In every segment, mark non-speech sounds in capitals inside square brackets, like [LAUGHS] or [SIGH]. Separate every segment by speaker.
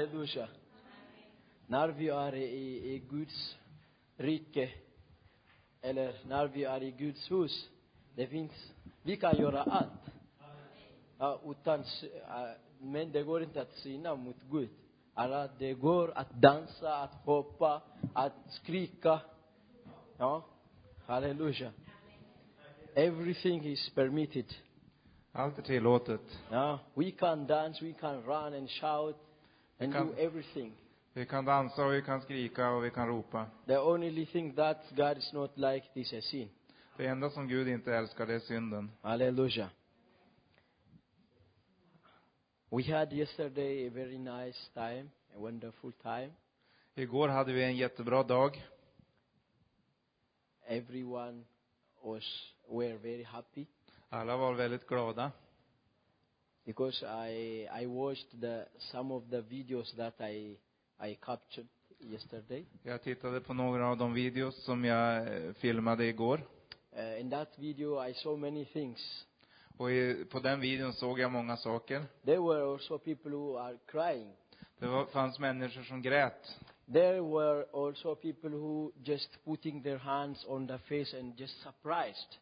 Speaker 1: Halleluja. När vi är i, i Guds rike, eller när vi är i Guds hus, det finns, vi kan göra allt. Ja, utan, s- eh, men det går inte att syna mot Gud. Alla, det går att dansa, att hoppa, att skrika. Ja. Halleluja. Everything is permitted.
Speaker 2: Allt är tillåtet.
Speaker 1: Ja. We can dance, we can run and shout and
Speaker 2: Kan-
Speaker 1: do everything.
Speaker 2: Vi kan dansa och vi kan skrika och vi kan ropa.
Speaker 1: The only thing that God is not like is a sin.
Speaker 2: Det enda som Gud inte älskar, det är synden.
Speaker 1: Hallelujah. We had yesterday a very nice time, a wonderful time.
Speaker 2: Igår hade vi en jättebra dag.
Speaker 1: Everyone was were very happy
Speaker 2: Alla var väldigt glada.
Speaker 1: because I I watched the some of the videos that I I captured yesterday.
Speaker 2: Jag tittade på några av de videos som jag eh, filmade igår.
Speaker 1: Uh, in that video, I saw many things.
Speaker 2: Och i, på den videon såg jag många saker.
Speaker 1: There were also people who are crying.
Speaker 2: Det var, fanns människor som grät.
Speaker 1: There were also people who just putting their hands on the face and just surprised.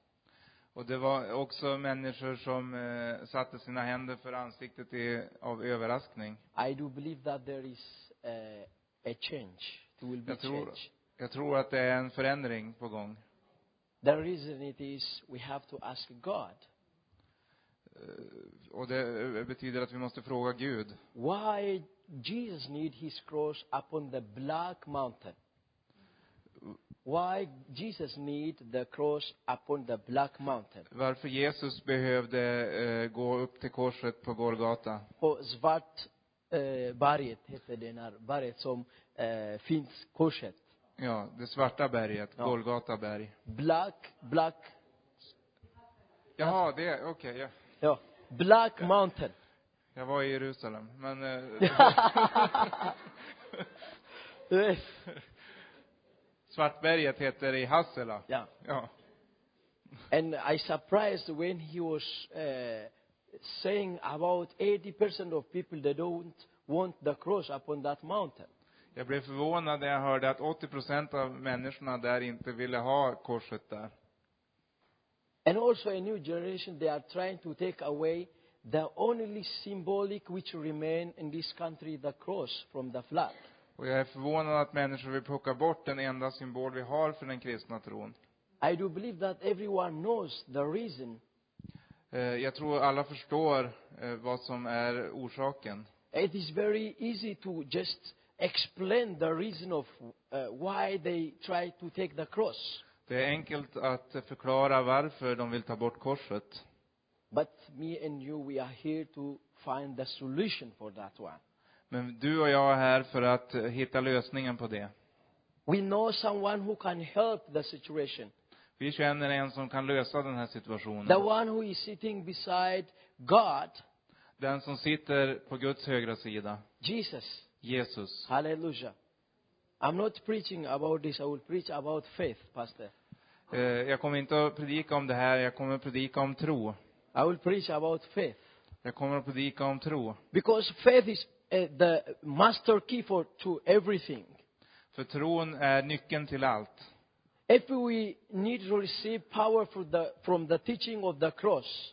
Speaker 2: Och det var också människor som eh, satte sina händer för ansiktet i, av överraskning.
Speaker 1: I do believe that there is uh, a change. It will be
Speaker 2: Jag tror-
Speaker 1: change.
Speaker 2: Jag tror att det är en förändring på gång.
Speaker 1: The reason it is we have to ask God,
Speaker 2: Eh, Och det eh, betyder att vi måste fråga Gud.
Speaker 1: why Jesus need his cross upon the black mountain? Why Jesus need the cross upon the black mountain?
Speaker 2: Varför Jesus behövde eh, gå upp till korset på Golgata.
Speaker 1: På svart eh, berget heter den här berget som eh, finns korset.
Speaker 2: Ja, det svarta berget,
Speaker 1: Ja.
Speaker 2: Golgata berg.
Speaker 1: Black, black,
Speaker 2: Jaha, det, okej, jag,
Speaker 1: ja, black mountain.
Speaker 2: jag var i Jerusalem. Men eh,
Speaker 1: Yes.
Speaker 2: Svartberget heter i Hassela.
Speaker 1: [LAUGHS] Yeah.
Speaker 2: Ja.
Speaker 1: And I surprised when he was uh, saying about 80% of people they don't want the cross upon that mountain.
Speaker 2: Jag blev förvånad när jag hörde att 80 procent av människorna där inte ville ha korset där.
Speaker 1: And also a new generation they are trying to take away the only symbolic which remain in this country the cross from the flag.
Speaker 2: Och jag är förvånad att människor vill plocka bort den enda symbol vi har för den kristna tron.
Speaker 1: I do believe that everyone knows the reason.
Speaker 2: Eh, jag tror alla förstår eh, vad som är orsaken.
Speaker 1: It is very easy to just explain the reason of uh, why they try to take the cross.
Speaker 2: Det är enkelt att förklara varför de vill ta bort korset.
Speaker 1: But me and you, we are here to find the solution for that one.
Speaker 2: Men du och jag är här för att eh, hitta lösningen på det.
Speaker 1: We know someone who can help the situation.
Speaker 2: Vi känner en som kan lösa den här situationen.
Speaker 1: The one who is sitting beside God,
Speaker 2: Den som sitter på Guds högra sida,
Speaker 1: Jesus.
Speaker 2: Jesus.
Speaker 1: Hallelujah. I'm not preaching about this. I will preach about faith, Pastor.
Speaker 2: Eh, Jag kommer inte att predika om det här, jag kommer att predika om tro.
Speaker 1: I will preach about faith.
Speaker 2: Jag kommer att predika om tro.
Speaker 1: Because faith is uh, the master key for, to everything.
Speaker 2: För tron är nyckeln till allt.
Speaker 1: If we need to receive power from the, from the teaching of the cross,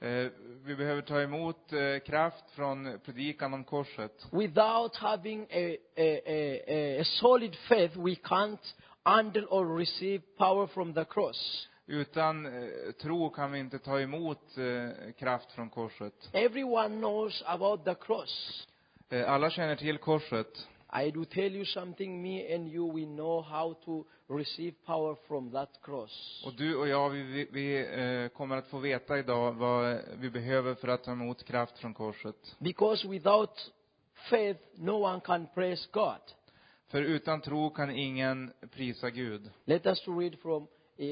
Speaker 2: Eh, Vi behöver ta emot eh, kraft från predikan om korset.
Speaker 1: without having a, a, a- a, a solid faith, we can't handle or receive power from the cross.
Speaker 2: Utan eh, tro kan vi inte ta emot eh, kraft från korset.
Speaker 1: Everyone knows about the cross.
Speaker 2: Eh, Alla känner till korset.
Speaker 1: I do tell you something, me and you, we know how to receive power from that cross.
Speaker 2: Och du och jag, vi, vi, vi eh, kommer att få veta idag vad vi behöver för att ta emot kraft från korset.
Speaker 1: Because without faith, no one can praise God.
Speaker 2: För utan tro kan ingen prisa Gud.
Speaker 1: Let us read from uh,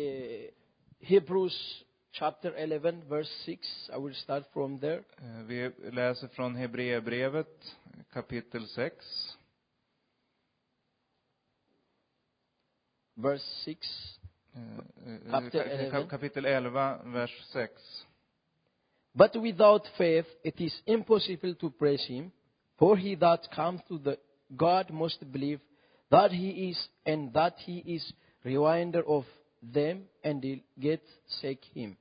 Speaker 1: Hebrews chapter 11, verse 6. I will start from there.
Speaker 2: Eh, Vi läser från Hebreerbrevet kapitel 6.
Speaker 1: Verse 6.
Speaker 2: Eh,
Speaker 1: Kapitel 11.
Speaker 2: kapitel 11, vers 6.
Speaker 1: But without faith, it is impossible to praise Him, For he that comes to the God must believe that he is and that he is rewinder of them and tillgetsake him.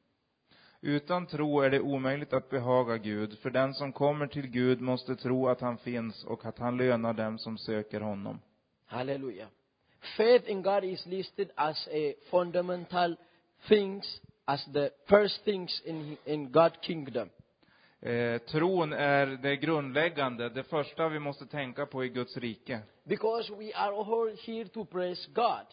Speaker 2: Utan tro är det omöjligt att behaga Gud, för den som kommer till Gud måste tro att han finns och att han lönar dem som söker honom.
Speaker 1: Hallelujah. Faith in God is listed as a fundamental things, as the first things in, in God's kingdom.
Speaker 2: Eh, tron är det grundläggande, det första vi måste tänka på i Guds rike.
Speaker 1: Because we are all here to praise God.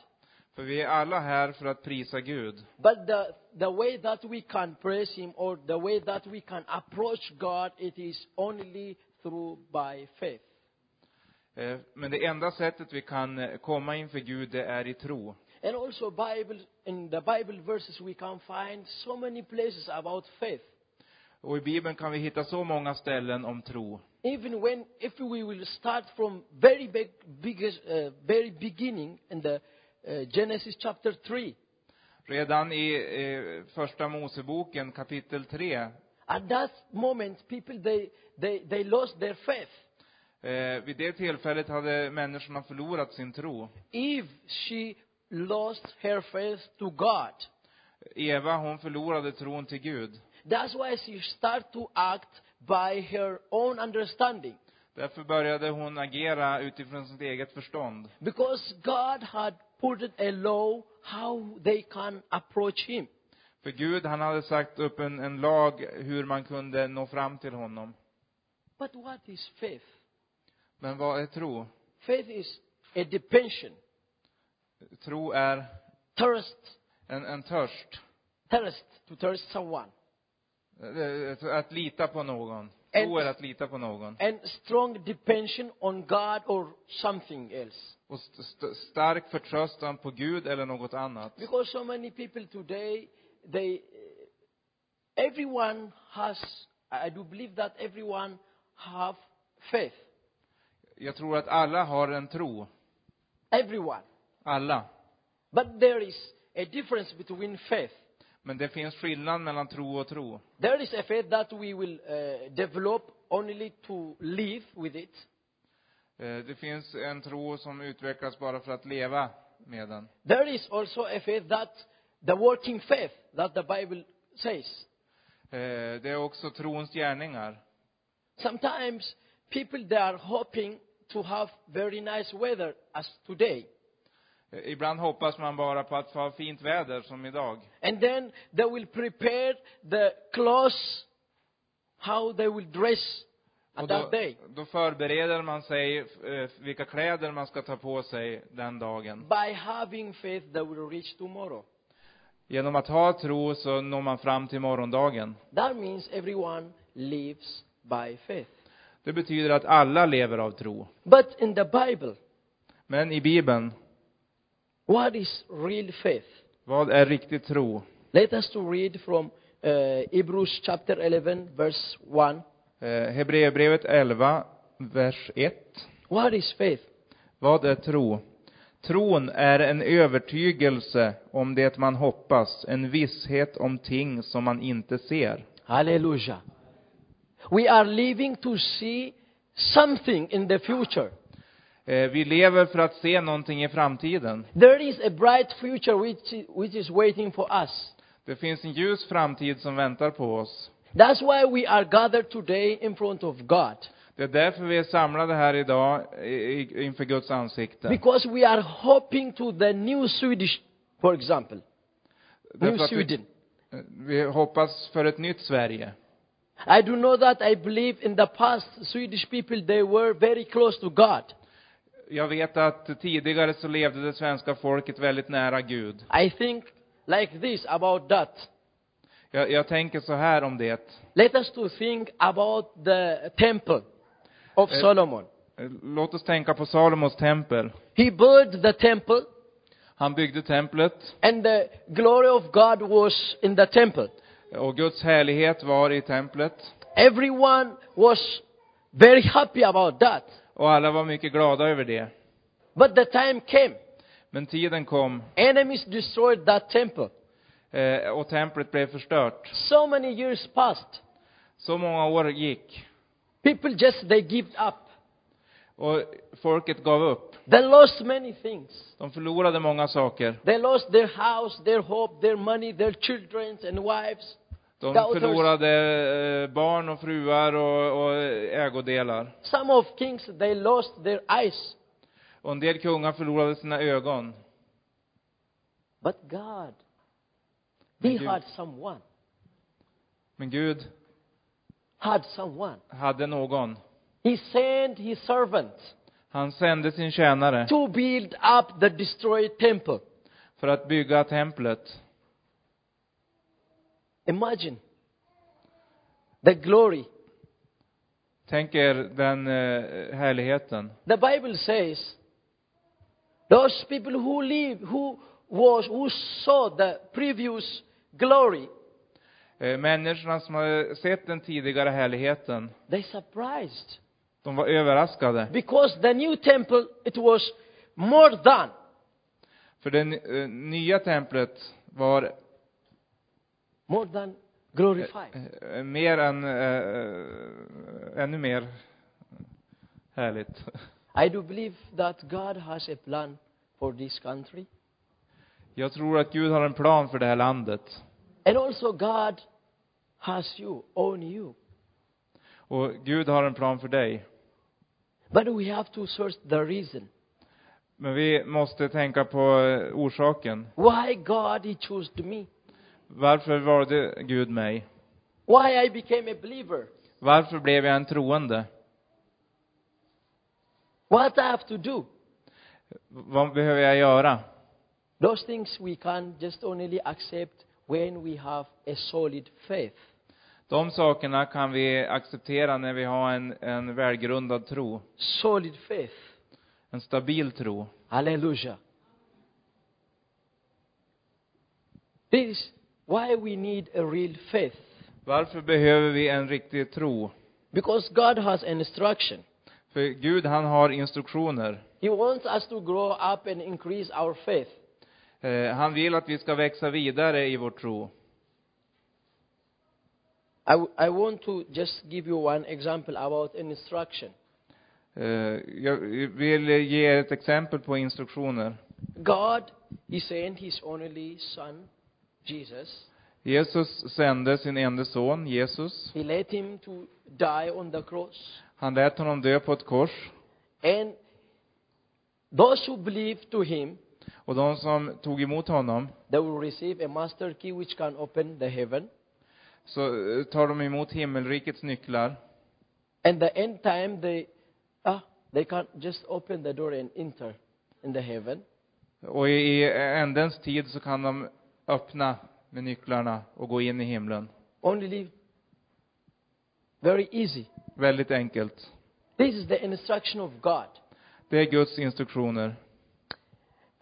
Speaker 2: För vi är alla här för att prisa Gud.
Speaker 1: But the, the way that we can praise Him or the way that we can approach God, it is only through by faith.
Speaker 2: Eh, Men det enda sättet vi kan eh, komma inför Gud, det är i tro.
Speaker 1: And also Bible, in the Bible verses we can find so many places about faith.
Speaker 2: Och i Bibeln kan vi hitta så många ställen om tro.
Speaker 1: Even when, if we will start from very big, biggest, uh, very beginning in the uh, Genesis chapter 3,
Speaker 2: Redan i eh, första Moseboken kapitel 3 eh,
Speaker 1: at that moment people, they, they, they lost their faith.
Speaker 2: Eh, vid det tillfället hade människorna förlorat sin tro.
Speaker 1: Eve, she lost her faith to God.
Speaker 2: Eva, hon förlorade tron till Gud.
Speaker 1: That's why she started to act by her own understanding.
Speaker 2: Därför började hon agera utifrån sitt eget förstånd.
Speaker 1: Because God had put a law how they can approach Him.
Speaker 2: För Gud, han hade sagt upp en, en lag hur man kunde nå fram till honom.
Speaker 1: But what is faith?
Speaker 2: Men vad är tro?
Speaker 1: Faith is a dependence,
Speaker 2: Tro är
Speaker 1: thirst,
Speaker 2: en, en törst.
Speaker 1: thirst to thirst someone,
Speaker 2: Eh, Att lita på någon. Tro är att lita på någon.
Speaker 1: and strong dependence on God or something else.
Speaker 2: Och st- st- stark förtröstan på Gud eller något annat.
Speaker 1: Because so many people today, they, everyone has, I do believe that everyone have faith.
Speaker 2: Jag tror att alla har en tro.
Speaker 1: Everyone.
Speaker 2: Alla.
Speaker 1: But there is a difference between faith.
Speaker 2: Men det finns skillnad mellan tro och tro.
Speaker 1: There is a faith that we will uh, develop only to live with it.
Speaker 2: Eh, Det finns en tro som utvecklas bara för att leva med den.
Speaker 1: There is also a faith that the working faith that the Bible says.
Speaker 2: Eh, Det är också trons gärningar.
Speaker 1: Sometimes people they are hoping to have very nice weather as today.
Speaker 2: Eh, Ibland hoppas man bara på att få ha fint väder som idag.
Speaker 1: And then they will prepare the clothes how they will dress
Speaker 2: Och
Speaker 1: on
Speaker 2: då,
Speaker 1: that day.
Speaker 2: då förbereder man sig eh, vilka kläder man ska ta på sig den dagen.
Speaker 1: By having faith they will reach tomorrow.
Speaker 2: Genom att ha tro så når man fram till morgondagen.
Speaker 1: That means everyone lives by faith.
Speaker 2: Det betyder att alla lever av tro.
Speaker 1: But in the Bible,
Speaker 2: Men i Bibeln,
Speaker 1: what is real faith?
Speaker 2: vad är riktig tro?
Speaker 1: Let us to read from uh, Hebrews chapter 11, verse 1.
Speaker 2: Eh, Hebreerbrevet 11, vers 1.
Speaker 1: What is faith?
Speaker 2: Vad är tro? Tron är en övertygelse om det man hoppas, en visshet om ting som man inte ser.
Speaker 1: Hallelujah. We are living to see something in the future.
Speaker 2: Eh, Vi lever för att se någonting i framtiden.
Speaker 1: There is a bright future which, i- which is waiting for us.
Speaker 2: Det finns en ljus framtid som väntar på oss.
Speaker 1: That's why we are gathered today in front of God.
Speaker 2: Det är därför vi är samlade här idag i- i- inför Guds ansikte.
Speaker 1: Because we are hoping to the new Swedish, for example. New
Speaker 2: Därför att
Speaker 1: Sweden.
Speaker 2: vi, vi hoppas för ett nytt Sverige.
Speaker 1: I do know that I believe in the past Swedish people they were very close to God.
Speaker 2: Jag vet att tidigare så levde det svenska folket väldigt nära Gud.
Speaker 1: I think like this about that.
Speaker 2: Jag, jag tänker så här om det.
Speaker 1: Let us to think about the temple of
Speaker 2: Eh.
Speaker 1: Solomon.
Speaker 2: Låt oss tänka på Salomos tempel.
Speaker 1: He built the temple
Speaker 2: Han byggde templet
Speaker 1: and the glory of God was in the temple.
Speaker 2: och Guds härlighet var i templet.
Speaker 1: Everyone was very happy about that.
Speaker 2: Och alla var mycket glada över det.
Speaker 1: But the time came.
Speaker 2: Men tiden kom
Speaker 1: Enemies destroyed that temple.
Speaker 2: eh, och templet blev förstört.
Speaker 1: So many years passed.
Speaker 2: Så många år gick.
Speaker 1: People just they gave up.
Speaker 2: Och folket gav upp.
Speaker 1: They lost many things.
Speaker 2: De förlorade många saker.
Speaker 1: They lost their house, their hope, their money, their children and wives.
Speaker 2: De
Speaker 1: Doubters.
Speaker 2: förlorade eh, barn och fruar och, och ägodelar.
Speaker 1: Some of kings, they lost their eyes.
Speaker 2: Och en del kungar förlorade sina ögon.
Speaker 1: But God,
Speaker 2: Men
Speaker 1: He
Speaker 2: Gud-
Speaker 1: had someone,
Speaker 2: Men Gud
Speaker 1: had someone.
Speaker 2: hade någon.
Speaker 1: He sent His servant
Speaker 2: Han sände sin tjänare
Speaker 1: to build up the destroyed temple.
Speaker 2: för att bygga templet.
Speaker 1: Imagine the glory.
Speaker 2: Tänk er den eh, härligheten.
Speaker 1: The Bible says those people who live, who was, who saw the previous glory,
Speaker 2: Eh, Människorna som hade sett den tidigare härligheten,
Speaker 1: they surprised
Speaker 2: de var överraskade.
Speaker 1: because the new temple it was more than
Speaker 2: För det eh, nya templet var
Speaker 1: more than glorified.
Speaker 2: eh, mer än, eh, ännu mer härligt.
Speaker 1: I do believe that God has a plan for this country,
Speaker 2: Jag tror att Gud har en plan för det här landet.
Speaker 1: and also God has you on you.
Speaker 2: Och Gud har en plan för dig.
Speaker 1: But we have to search the reason
Speaker 2: Men vi måste tänka på eh, orsaken.
Speaker 1: why God He chose me,
Speaker 2: Varför valde Gud mig?
Speaker 1: why I became a believer,
Speaker 2: Varför blev jag en troende?
Speaker 1: what I have to do.
Speaker 2: Vad behöver jag göra?
Speaker 1: Those things we can just only accept when we have a solid faith.
Speaker 2: De sakerna kan vi acceptera när vi har en, en välgrundad tro.
Speaker 1: Solid faith.
Speaker 2: En stabil tro.
Speaker 1: Hallelujah. This is why we need a real faith.
Speaker 2: Varför behöver vi en riktig tro?
Speaker 1: Because God has an instruction.
Speaker 2: För Gud, han har instruktioner.
Speaker 1: He wants us to grow up and increase our faith.
Speaker 2: Eh, han vill att vi ska växa vidare i vår tro.
Speaker 1: I, w- I want to just give you one example about an instruction.
Speaker 2: Eh, jag vill ge er ett exempel på instruktioner.
Speaker 1: God, He sent His only Son, Jesus.
Speaker 2: Jesus sände sin enda son, Jesus.
Speaker 1: He led Him to die on the cross.
Speaker 2: Han lät honom dö på ett kors.
Speaker 1: And those who believe to him,
Speaker 2: Och de som tog emot honom,
Speaker 1: they will receive a master key which can open the heaven.
Speaker 2: så eh, tar de emot himmelrikets nycklar.
Speaker 1: And the end time, they, ah, they can just open the door and enter in the heaven.
Speaker 2: Och i- i ändens tid så kan de öppna med nycklarna och gå in i himlen.
Speaker 1: Only very easy.
Speaker 2: Väldigt enkelt.
Speaker 1: This is the instruction of God.
Speaker 2: Det är Guds instruktioner.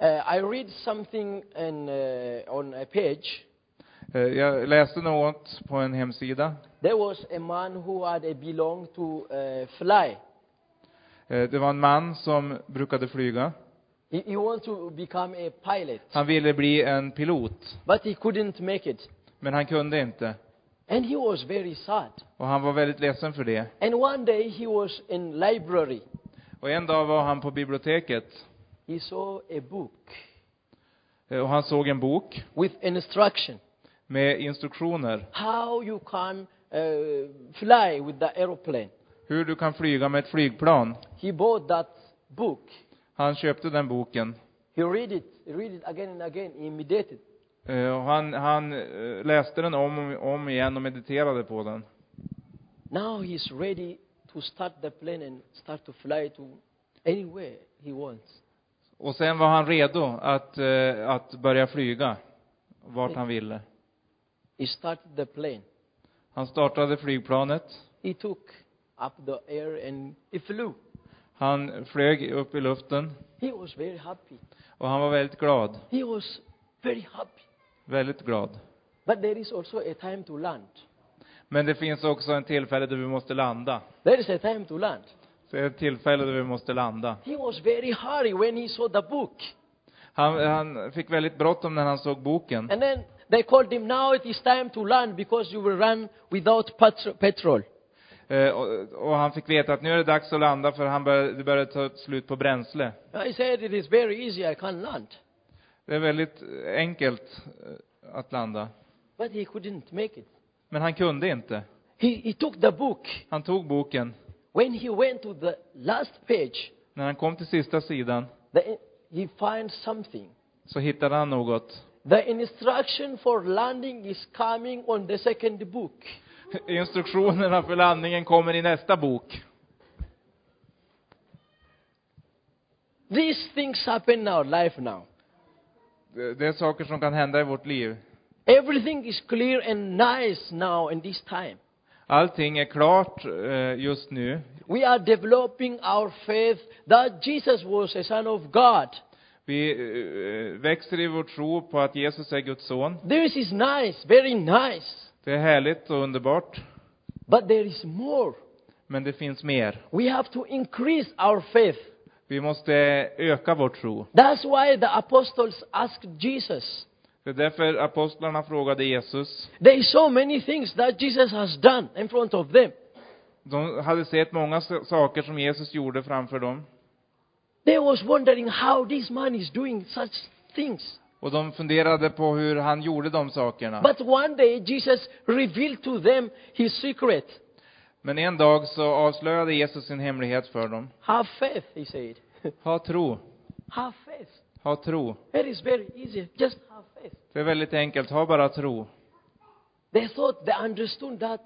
Speaker 1: Uh, I read something in, uh, on a page.
Speaker 2: Eh, Jag läste något på en hemsida.
Speaker 1: There was a man who had a belong to uh, fly.
Speaker 2: Eh, Det var en man som brukade flyga.
Speaker 1: He, he wanted to become a pilot,
Speaker 2: Han ville bli en pilot,
Speaker 1: but he couldn't make it.
Speaker 2: men han kunde inte.
Speaker 1: And he was very sad.
Speaker 2: Och han var väldigt ledsen för det.
Speaker 1: And one day he was in library.
Speaker 2: Och en dag var han på biblioteket
Speaker 1: He saw a book
Speaker 2: eh, och han såg en bok
Speaker 1: with instruction
Speaker 2: med instruktioner.
Speaker 1: how you can uh, fly with the aeroplane.
Speaker 2: Hur du kan flyga med ett flygplan.
Speaker 1: He bought that book.
Speaker 2: Han köpte den boken.
Speaker 1: He read it, he read it again and again. He meditated.
Speaker 2: Eh, Och han, han eh, läste den om och om igen och mediterade på den.
Speaker 1: Now he's ready to start the plane and start to fly to anywhere he wants.
Speaker 2: Och sen var han redo att, eh, att börja flyga vart han ville.
Speaker 1: He started the plane.
Speaker 2: Han startade flygplanet.
Speaker 1: He took up the air and he flew.
Speaker 2: Han flög upp i luften
Speaker 1: He was very happy.
Speaker 2: och han var väldigt glad.
Speaker 1: He was very happy.
Speaker 2: Väldigt glad.
Speaker 1: But there is also a time to land.
Speaker 2: Men det finns också en tillfälle där vi måste landa.
Speaker 1: There is a time to land.
Speaker 2: Så är det ett tillfälle där vi måste landa.
Speaker 1: He was very hurry when he saw the book.
Speaker 2: Han, han fick väldigt bråttom när han såg boken.
Speaker 1: And then they called him, now it is time to land because you will run without patro- petrol.
Speaker 2: Eh, och, och han fick veta att nu är det dags att landa för han började, det började ta slut på bränsle.
Speaker 1: Now, he said, It is very easy, I can land.
Speaker 2: Det är väldigt eh, enkelt eh, att landa.
Speaker 1: But he couldn't make it.
Speaker 2: Men han kunde inte.
Speaker 1: He, he took the book.
Speaker 2: Han tog boken.
Speaker 1: When he went to the last page,
Speaker 2: När han kom till sista sidan
Speaker 1: the, he finds something.
Speaker 2: så hittade han något. [LAUGHS]
Speaker 1: The instruction for landing is coming on the second book.
Speaker 2: Instruktionerna för landningen kommer i nästa bok.
Speaker 1: These things happen in our life now.
Speaker 2: Det det är saker som kan hända i vårt liv.
Speaker 1: Everything is clear and nice now in this time.
Speaker 2: Allting är klart eh, just nu.
Speaker 1: We are developing our faith that Jesus was a son of God.
Speaker 2: Vi eh, växer i vår tro på att Jesus är Guds son.
Speaker 1: This is nice, very nice.
Speaker 2: Det är härligt och underbart.
Speaker 1: But there is more.
Speaker 2: Men det finns mer.
Speaker 1: We have to increase our faith.
Speaker 2: Vi måste öka vår tro.
Speaker 1: That's why the apostles asked Jesus.
Speaker 2: Det är därför apostlarna frågade Jesus.
Speaker 1: They saw many things that Jesus has done in front of them.
Speaker 2: De hade sett många s- saker som Jesus gjorde framför dem.
Speaker 1: They was wondering how this man is doing such things.
Speaker 2: Och de funderade på hur han gjorde de sakerna.
Speaker 1: But one day Jesus revealed to them his secret.
Speaker 2: Men en dag så avslöjade Jesus sin hemlighet för dem.
Speaker 1: Have faith, he said. [LAUGHS]
Speaker 2: Ha tro.
Speaker 1: have faith.
Speaker 2: Ha tro.
Speaker 1: It is very easy. Just have faith.
Speaker 2: Det är väldigt enkelt. Ha bara tro.
Speaker 1: They thought they understood that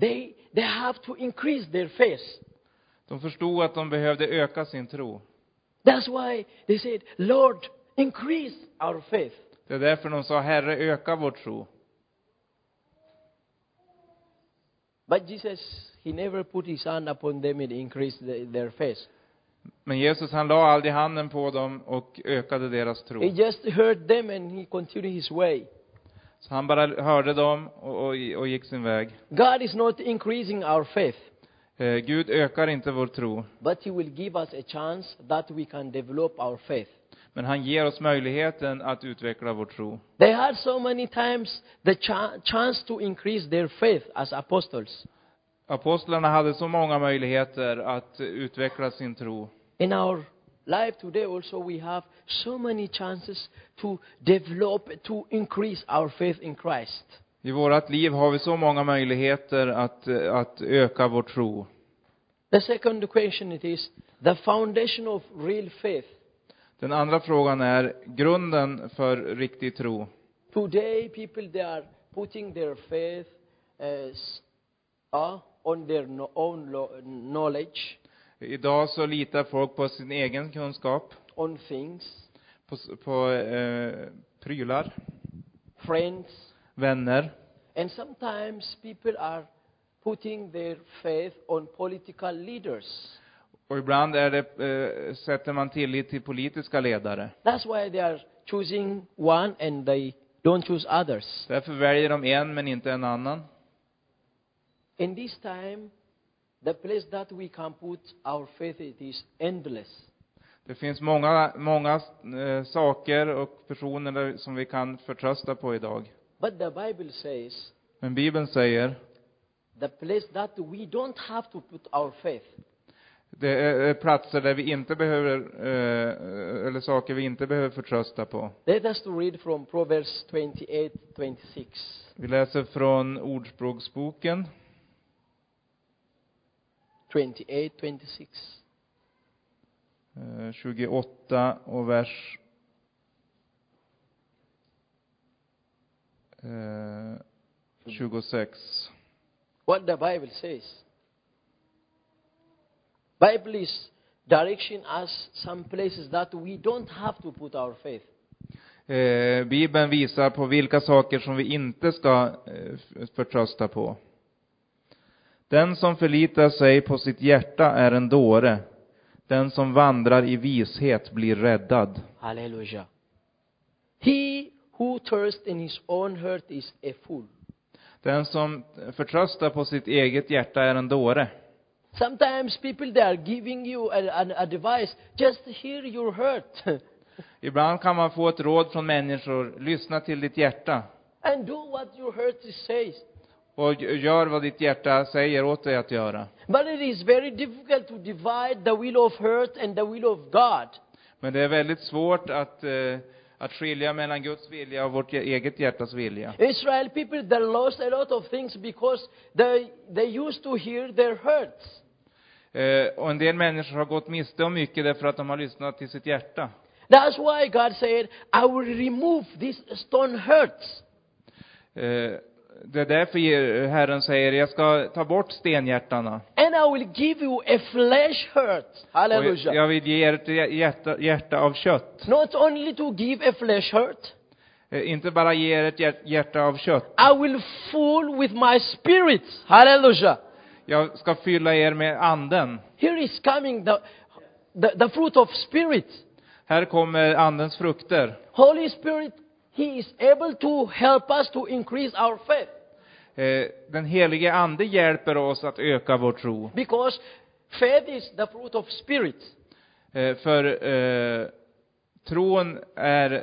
Speaker 1: they they have to increase their faith.
Speaker 2: De förstod att de behövde öka sin tro.
Speaker 1: That's why they said, Lord, increase our faith.
Speaker 2: Det är därför de sa Herre, öka vår tro.
Speaker 1: But Jesus, he never put his hand upon them and increased the, their faith.
Speaker 2: Men Jesus han la aldrig handen på dem och ökade deras tro.
Speaker 1: He just heard them and he continued his way.
Speaker 2: Så han bara hörde dem och, och, och gick sin väg.
Speaker 1: God is not increasing our faith,
Speaker 2: Eh, Gud ökar inte vår tro,
Speaker 1: but he will give us a chance that we can develop our faith.
Speaker 2: men han ger oss möjligheten att utveckla vår tro.
Speaker 1: They had so many times the cha- chance to increase their faith as apostles.
Speaker 2: Apostlarna hade så många möjligheter att eh, utveckla sin tro.
Speaker 1: In our life today also we have so many chances to develop, to increase our faith in Christ.
Speaker 2: I vårt liv har vi så många möjligheter att, eh, att öka vår tro.
Speaker 1: The second question it is the foundation of real faith.
Speaker 2: Den andra frågan är grunden för riktig tro.
Speaker 1: Today people they are putting their faith as, uh, on their no- own lo- knowledge,
Speaker 2: Idag så litar folk på sin egen kunskap,
Speaker 1: on things,
Speaker 2: på, s- på eh, prylar,
Speaker 1: friends,
Speaker 2: vänner.
Speaker 1: and sometimes people are putting their faith on political leaders.
Speaker 2: Och ibland är det, eh, sätter man tillit till politiska ledare.
Speaker 1: That's why they are choosing one and they don't choose others.
Speaker 2: Därför väljer de en men inte en annan.
Speaker 1: In this time, the place that we can put our faith it is endless.
Speaker 2: Det finns många, många eh, saker och personer där- som vi kan förtrösta på idag.
Speaker 1: But the Bible says
Speaker 2: Men Bibeln säger,
Speaker 1: the place that we don't have to put our faith
Speaker 2: det är är platser där vi inte behöver, eh, eller saker vi inte behöver förtrösta på.
Speaker 1: Let us to read from Proverbs 28, 26.
Speaker 2: Vi läser från Ordspråksboken
Speaker 1: 28, 26.
Speaker 2: eh, 28 och vers eh, 26.
Speaker 1: What the Bible says. Bible is directing us some places that we don't have to put our faith.
Speaker 2: Eh, Bibeln visar på vilka saker som vi inte ska eh, f- förtrösta på. Den som förlitar sig på sitt hjärta är en dåre. Den som vandrar i vishet blir räddad.
Speaker 1: Hallelujah. He who thirsts in his own heart is a fool.
Speaker 2: Den som förtröstar på sitt eget hjärta är en dåre.
Speaker 1: Sometimes people they are giving you an, an advice, just hear your heart [LAUGHS]
Speaker 2: Ibland kan man få ett råd från människor, lyssna till ditt hjärta
Speaker 1: and do what your heart says.
Speaker 2: och- och gör vad ditt hjärta säger åt dig att göra.
Speaker 1: But it is very difficult to divide the will of earth and the will of God.
Speaker 2: Men det är väldigt svårt att, eh, att skilja mellan Guds vilja och vårt e-, eget hjärtas vilja.
Speaker 1: Israel people, they lost a lot of things because they, they used to hear their hurts.
Speaker 2: Eh, och en del människor har gått miste om mycket därför att de har lyssnat till sitt hjärta.
Speaker 1: That's why God said, I will remove these stone hurts.
Speaker 2: Eh, det är därför Ge- Herren säger, jag ska ta bort stenhjärtarna.
Speaker 1: And I will give you a flesh hurt.
Speaker 2: Och jag-
Speaker 1: Hallelujah.
Speaker 2: jag vill ge er ett hjärta, hjärta av kött.
Speaker 1: Not only to give a flesh hurt,
Speaker 2: Eh, inte bara ge er ett hjär- hjärta av kött.
Speaker 1: I will full with my spirit. Hallelujah.
Speaker 2: Jag ska fylla er med anden.
Speaker 1: Here is coming the, the, the fruit of spirit.
Speaker 2: Här kommer andens frukter.
Speaker 1: Holy Spirit, He is able to help us to increase our faith.
Speaker 2: Eh, Den helige ande hjälper oss att öka vår tro.
Speaker 1: Because faith is the fruit of spirit.
Speaker 2: Eh, För eh, tron är eh,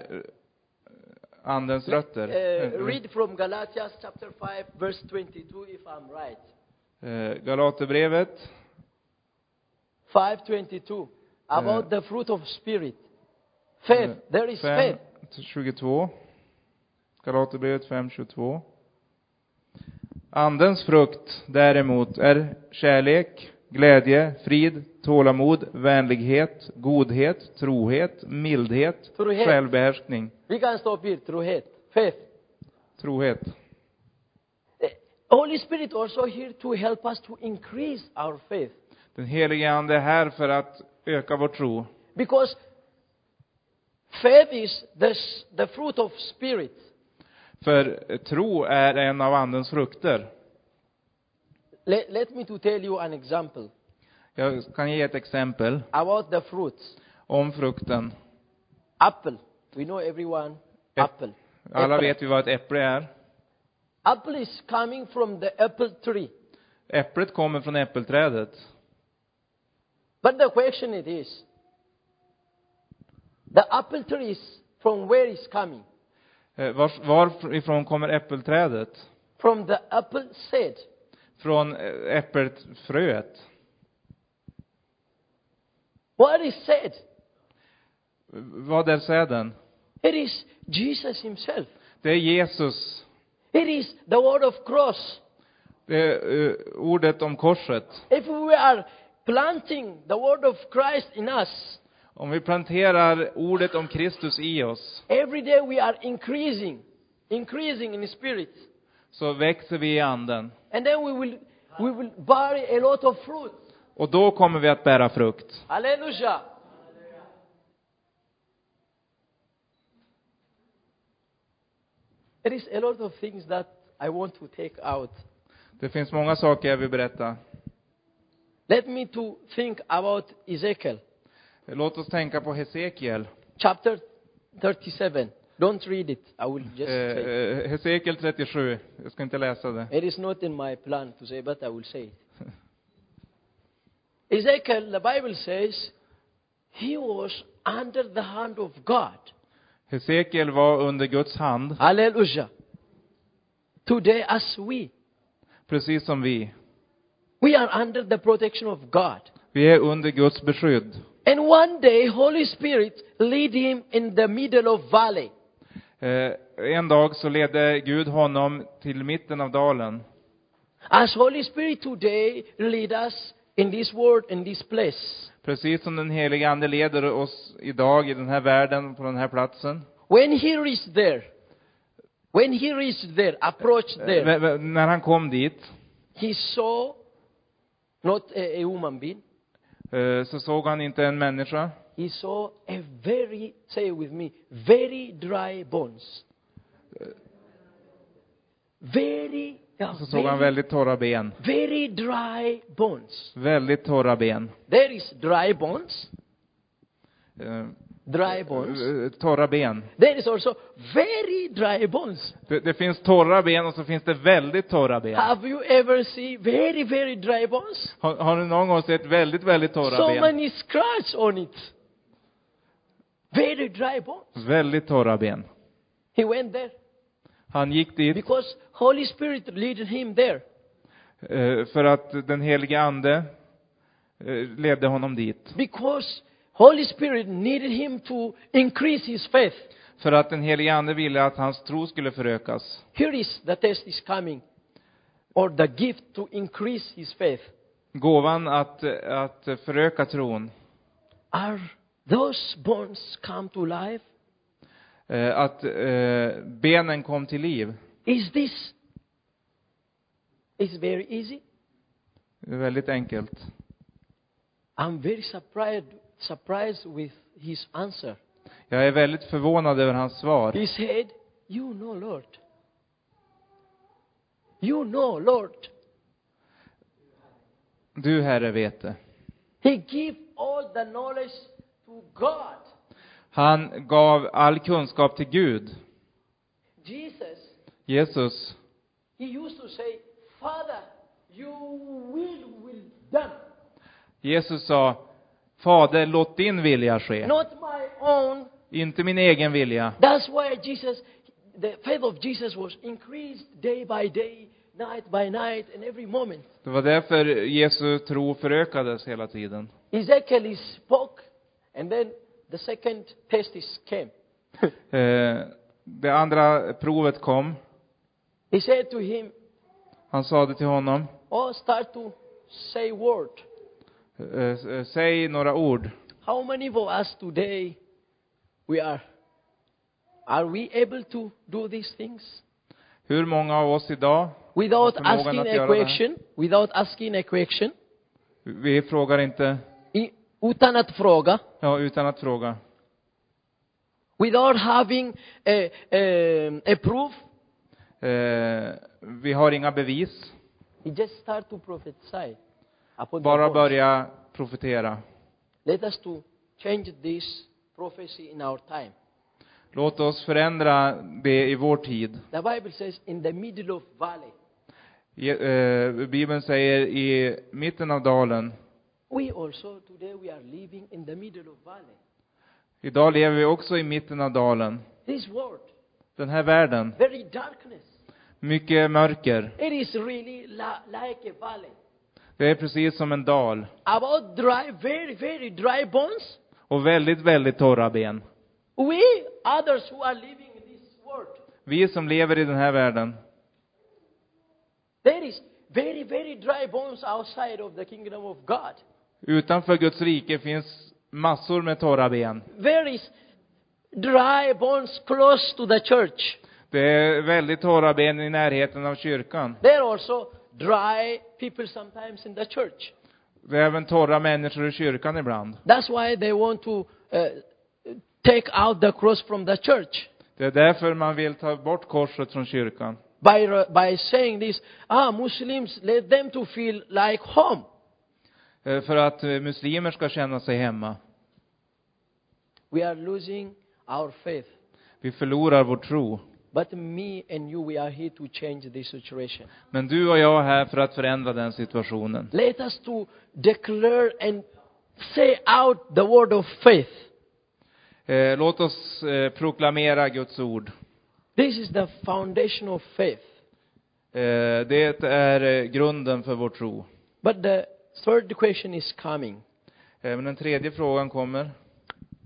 Speaker 2: andens rötter.
Speaker 1: Uh,
Speaker 2: Eh,
Speaker 1: read from Galatians chapter 5 verse 22 if I'm right.
Speaker 2: eh, Galaterbrevet
Speaker 1: 5:22 about the fruit of spirit. Faith, there is faith.
Speaker 2: 5.22. Galaterbrevet 5.22. Andens frukt däremot är kärlek, glädje, frid, tålamod, vänlighet, godhet, trohet, mildhet,
Speaker 1: Trohet.
Speaker 2: självbehärskning.
Speaker 1: We can stop here through faith. Faith.
Speaker 2: Trohet.
Speaker 1: The Holy Spirit also here to help us to increase our faith
Speaker 2: Den helige Ande är här för att öka vår tro.
Speaker 1: because faith is the, s- the fruit of spirit.
Speaker 2: För tro är en av Andens frukter.
Speaker 1: Let, let me to tell you an example
Speaker 2: Jag kan ge ett exempel
Speaker 1: about the fruits.
Speaker 2: om frukten.
Speaker 1: Apple. We know everyone.
Speaker 2: Ep-
Speaker 1: Apple.
Speaker 2: Alla
Speaker 1: Apple.
Speaker 2: vet ju vad ett äpple är.
Speaker 1: Apple is coming from the apple tree.
Speaker 2: Äpplet kommer från äppelträdet.
Speaker 1: But the question it is, the apple tree is from where it's coming?
Speaker 2: Eh, Vars, varifrån kommer äppelträdet?
Speaker 1: From the apple seed.
Speaker 2: Från eh, äppelfröet.
Speaker 1: What is said?
Speaker 2: Vad är säden?
Speaker 1: It is Jesus himself.
Speaker 2: Det är Jesus.
Speaker 1: It is the word of cross.
Speaker 2: Det är eh, ordet om korset.
Speaker 1: If we are planting the word of Christ in us,
Speaker 2: Om vi planterar ordet om Kristus i oss
Speaker 1: every day we are increasing, increasing in spirit.
Speaker 2: så växer vi i anden.
Speaker 1: And then we will, we will bear a lot of fruit.
Speaker 2: Och då kommer vi att bära frukt.
Speaker 1: Hallelujah. There is a lot of things that I want to take out.
Speaker 2: Det finns många saker jag vill berätta.
Speaker 1: Let me to think about Ezekiel
Speaker 2: Eh, Låt oss tänka på Hesekiel.
Speaker 1: chapter 37. Don't read it. I will just
Speaker 2: Eh,
Speaker 1: say it.
Speaker 2: eh, Hesekiel 37. Jag ska inte läsa det.
Speaker 1: It is not in my plan to say, but I will say it. Ezekiel, the Bible says, he was under the hand of God.
Speaker 2: Hesekiel var under Guds hand,
Speaker 1: Hallelujah. Today, as we,
Speaker 2: precis som vi.
Speaker 1: We are under the protection of God.
Speaker 2: Vi är under Guds beskydd.
Speaker 1: And one day, Holy Spirit lead him in the middle of valley.
Speaker 2: Eh, en dag så ledde Gud honom till mitten av dalen.
Speaker 1: As Holy Spirit today lead us in this world, in this place.
Speaker 2: Precis som den heliga Ande leder oss idag i den här världen, på den här platsen.
Speaker 1: When he reached there, when he reached there, approached
Speaker 2: Eh,
Speaker 1: there,
Speaker 2: men- men när han kom dit
Speaker 1: he saw not a, a human being.
Speaker 2: eh, så såg han inte en människa.
Speaker 1: He saw a very, say with me, very dry bones. Very, yeah,
Speaker 2: Så såg han
Speaker 1: very,
Speaker 2: väldigt torra ben.
Speaker 1: very dry bones.
Speaker 2: Väldigt torra ben.
Speaker 1: There is dry bones,
Speaker 2: Eh,
Speaker 1: dry bones.
Speaker 2: eh, Torra ben.
Speaker 1: There is also very dry bones.
Speaker 2: Det, det finns torra ben och så finns det väldigt torra ben.
Speaker 1: Have you ever seen very, very dry bones?
Speaker 2: Har, har du någon gång sett väldigt, väldigt torra
Speaker 1: So
Speaker 2: ben?
Speaker 1: many scratch on it. Very dry bones.
Speaker 2: Väldigt torra ben.
Speaker 1: He went there.
Speaker 2: Han gick dit
Speaker 1: because Holy Spirit led him there.
Speaker 2: eh, för att den helige ande eh, ledde honom dit.
Speaker 1: Because Holy Spirit needed him to increase his faith.
Speaker 2: För att den helige ande ville att hans tro skulle förökas.
Speaker 1: Here is the test is coming, or the gift to increase his faith.
Speaker 2: Gåvan att, eh, att föröka tron.
Speaker 1: Are those bones come to life?
Speaker 2: Eh, att eh, benen kom till liv.
Speaker 1: Is this? It's very easy.
Speaker 2: Det är Väldigt enkelt.
Speaker 1: I'm very surprised surprised with his answer.
Speaker 2: Jag är väldigt förvånad över hans svar.
Speaker 1: He said, "You know, Lord. You know, Lord."
Speaker 2: Du Herre vet det.
Speaker 1: He gave all the knowledge to God.
Speaker 2: Han gav all kunskap till Gud.
Speaker 1: Jesus,
Speaker 2: Jesus,
Speaker 1: he used to say, "Father, you will will done,
Speaker 2: Jesus sa, Fader, låt din vilja ske.
Speaker 1: not my own."
Speaker 2: Inte min egen vilja.
Speaker 1: That's why Jesus, the faith of Jesus was increased day by day, night by night, and every moment.
Speaker 2: Det var därför Jesu tro förökades hela tiden.
Speaker 1: Ezekiel he spoke, and then the second test is came.
Speaker 2: Eh, det andra provet kom.
Speaker 1: He said to him,
Speaker 2: Han sade till honom,
Speaker 1: "Oh, start to say word.
Speaker 2: eh, eh, säg några ord.
Speaker 1: How many of us today we are? Are we able to do these things
Speaker 2: Hur många av oss idag,
Speaker 1: without
Speaker 2: Har förmågan
Speaker 1: asking
Speaker 2: att
Speaker 1: a
Speaker 2: göra det här.
Speaker 1: question? Without asking a question?
Speaker 2: vi frågar inte,
Speaker 1: I, utan att fråga?
Speaker 2: ja, utan att fråga.
Speaker 1: Without having a, a, a proof?
Speaker 2: Eh, vi har inga bevis,
Speaker 1: He just start to prophesy. Upon the
Speaker 2: bara
Speaker 1: words.
Speaker 2: börja profetera.
Speaker 1: Let us to change this prophecy in our time.
Speaker 2: Låt oss förändra det i vår tid.
Speaker 1: The Bible says, in the middle of valley,
Speaker 2: Je- eh, Bibeln säger i mitten av dalen,
Speaker 1: we also today we are living in the middle of valley.
Speaker 2: idag lever vi också i mitten av dalen.
Speaker 1: This world,
Speaker 2: Den här världen,
Speaker 1: very darkness.
Speaker 2: mycket mörker.
Speaker 1: It is really la- like a valley.
Speaker 2: Det är precis som en dal.
Speaker 1: About dry, very, very dry bones,
Speaker 2: Och väldigt, väldigt torra ben.
Speaker 1: we others who are living in this world,
Speaker 2: Vi som lever i den här världen,
Speaker 1: there is very, very dry bones outside of the kingdom of God.
Speaker 2: utanför Guds rike finns massor med torra ben.
Speaker 1: There is dry bones close to the church.
Speaker 2: Det är väldigt torra ben i närheten av kyrkan.
Speaker 1: There are also dry people sometimes in the church.
Speaker 2: Det är även torra människor i kyrkan ibland.
Speaker 1: That's why they want to uh, take out the cross from the church
Speaker 2: Det är därför man vill ta bort korset från kyrkan.
Speaker 1: by, uh, by saying this, ah, Muslims, let them to feel like home.
Speaker 2: Eh, För att eh, muslimer ska känna sig hemma.
Speaker 1: We are losing our faith.
Speaker 2: Vi förlorar vår tro.
Speaker 1: But me and you, we are here to change this situation.
Speaker 2: Men du och jag är här för att förändra den situationen.
Speaker 1: Let us to declare and say out the word of faith.
Speaker 2: Eh, Låt oss eh, proklamera Guds ord.
Speaker 1: This is the foundation of faith.
Speaker 2: Eh, Det är eh, grunden för vår tro.
Speaker 1: But the third question is coming.
Speaker 2: Eh, Men den tredje frågan kommer.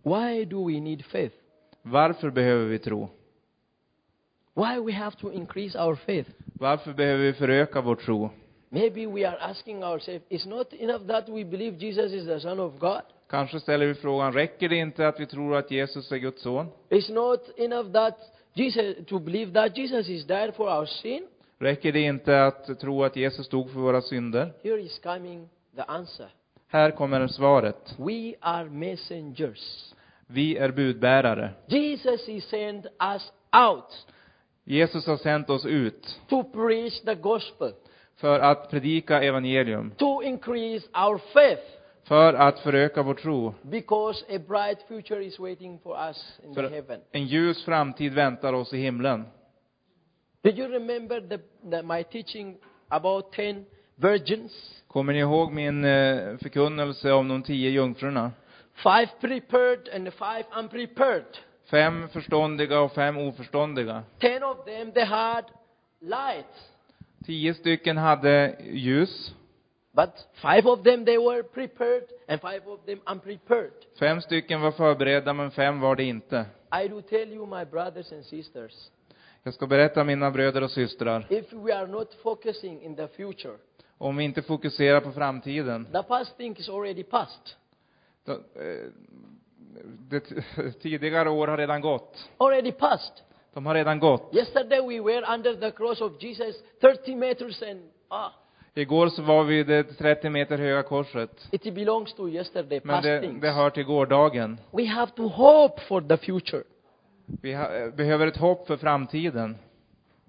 Speaker 1: Why do we need faith?
Speaker 2: Varför behöver vi tro?
Speaker 1: Why we have to increase our faith?
Speaker 2: Varför behöver vi föröka vår tro?
Speaker 1: Maybe we are asking ourselves, it's not enough that we believe Jesus is the Son of God.
Speaker 2: Kanske ställer vi frågan, räcker det inte att vi tror att Jesus är Guds son?
Speaker 1: It's not enough that Jesus, to believe that Jesus is died for our sin.
Speaker 2: Räcker det inte att tro att Jesus dog för våra synder?
Speaker 1: Here is coming the answer.
Speaker 2: Här kommer svaret.
Speaker 1: We are messengers.
Speaker 2: Vi är budbärare.
Speaker 1: Jesus is sent us out
Speaker 2: Jesus har sänt oss ut
Speaker 1: to preach the gospel,
Speaker 2: för att predika evangelium,
Speaker 1: to increase our faith,
Speaker 2: för att föröka vår tro.
Speaker 1: because a bright future is waiting for us in the
Speaker 2: För
Speaker 1: heaven.
Speaker 2: en ljus framtid väntar oss i himlen.
Speaker 1: Did you remember the, the, my teaching about ten virgins?
Speaker 2: Kommer ni ihåg min eh, förkunnelse om de tio jungfrurna?
Speaker 1: Five prepared and five unprepared.
Speaker 2: Fem förståndiga och fem oförståndiga.
Speaker 1: Ten of them, they had light.
Speaker 2: Tio stycken hade ljus,
Speaker 1: But five of them, they were prepared, and five of them unprepared.
Speaker 2: fem stycken var förberedda men fem var det inte.
Speaker 1: I do tell you, my brothers and sisters,
Speaker 2: Jag ska berätta mina bröder och systrar,
Speaker 1: if we are not focusing in the future,
Speaker 2: om vi inte fokuserar på framtiden,
Speaker 1: the past thing is already past,
Speaker 2: då, eh, det, [LAUGHS] tidigare år har redan gått.
Speaker 1: already past.
Speaker 2: De har redan gått.
Speaker 1: Yesterday we were under the cross of Jesus, 30 meters, and ah,
Speaker 2: Igår så var vi i det 30 meter höga korset.
Speaker 1: it belongs to yesterday,
Speaker 2: Men
Speaker 1: past
Speaker 2: det,
Speaker 1: things.
Speaker 2: det hör till gårdagen.
Speaker 1: We have to hope for the future
Speaker 2: Vi ha, eh, behöver ett hopp för framtiden.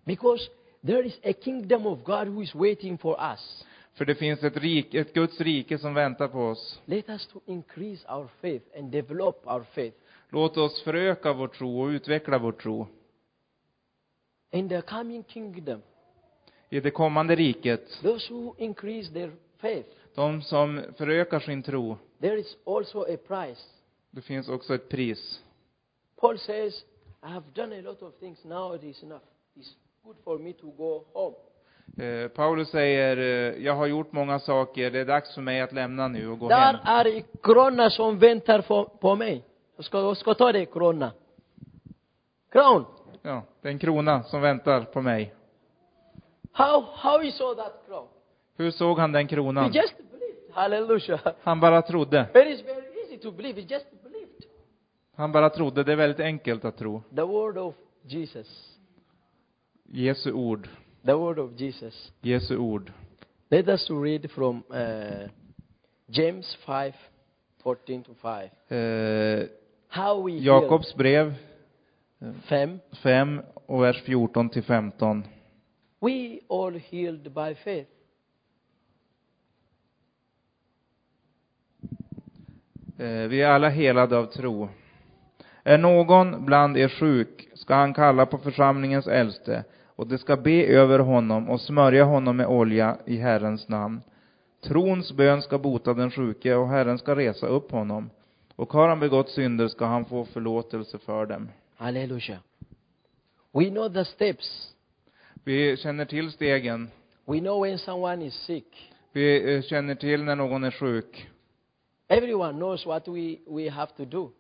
Speaker 1: because there is a kingdom of God who is waiting for us.
Speaker 2: För det finns ett, rik, ett Guds rike som väntar på oss.
Speaker 1: Let us to increase our faith and develop our faith.
Speaker 2: Låt oss föröka vår tro och utveckla vår tro.
Speaker 1: In the coming kingdom,
Speaker 2: I det kommande riket,
Speaker 1: those who increase their faith,
Speaker 2: de som förökar sin tro,
Speaker 1: there is also a price.
Speaker 2: det finns också ett pris.
Speaker 1: Paul says, I have done a lot of things, now it is enough. It's good for me to go home.
Speaker 2: Eh, Paulus säger, eh, jag har gjort många saker, det är dags för mig att lämna nu och gå hem.
Speaker 1: Där är i krona som väntar på, på mig. Jag ska, jag ska ta det krona. Crown.
Speaker 2: Ja, det är en krona som väntar på mig.
Speaker 1: How, how you saw that crown?
Speaker 2: Hur såg han den
Speaker 1: You
Speaker 2: kronan?
Speaker 1: just believed. Hallelujah. [LAUGHS]
Speaker 2: Han bara trodde.
Speaker 1: It is very easy to believe. You just believed.
Speaker 2: Han bara trodde. Det är väldigt enkelt att tro.
Speaker 1: The word of Jesus.
Speaker 2: Jesu ord.
Speaker 1: The word of Jesus.
Speaker 2: Jesu ord.
Speaker 1: Let us to read from uh, James 5, 14 to 5.
Speaker 2: Eh,
Speaker 1: How we hear.
Speaker 2: Jakobs brev
Speaker 1: 5.
Speaker 2: 5 och vers 14 till 15.
Speaker 1: We all healed by faith.
Speaker 2: Eh, Vi är alla helade av tro. Är någon bland er sjuk ska han kalla på församlingens äldste och de ska be över honom och smörja honom med olja i Herrens namn. Trons bön ska bota den sjuke och Herren ska resa upp honom. Och har han begått synder ska han få förlåtelse för dem.
Speaker 1: Hallelujah. We know the steps.
Speaker 2: Vi känner till stegen.
Speaker 1: We know when someone is sick.
Speaker 2: Vi eh, känner till när någon är sjuk.
Speaker 1: Everyone knows what we, we have to do.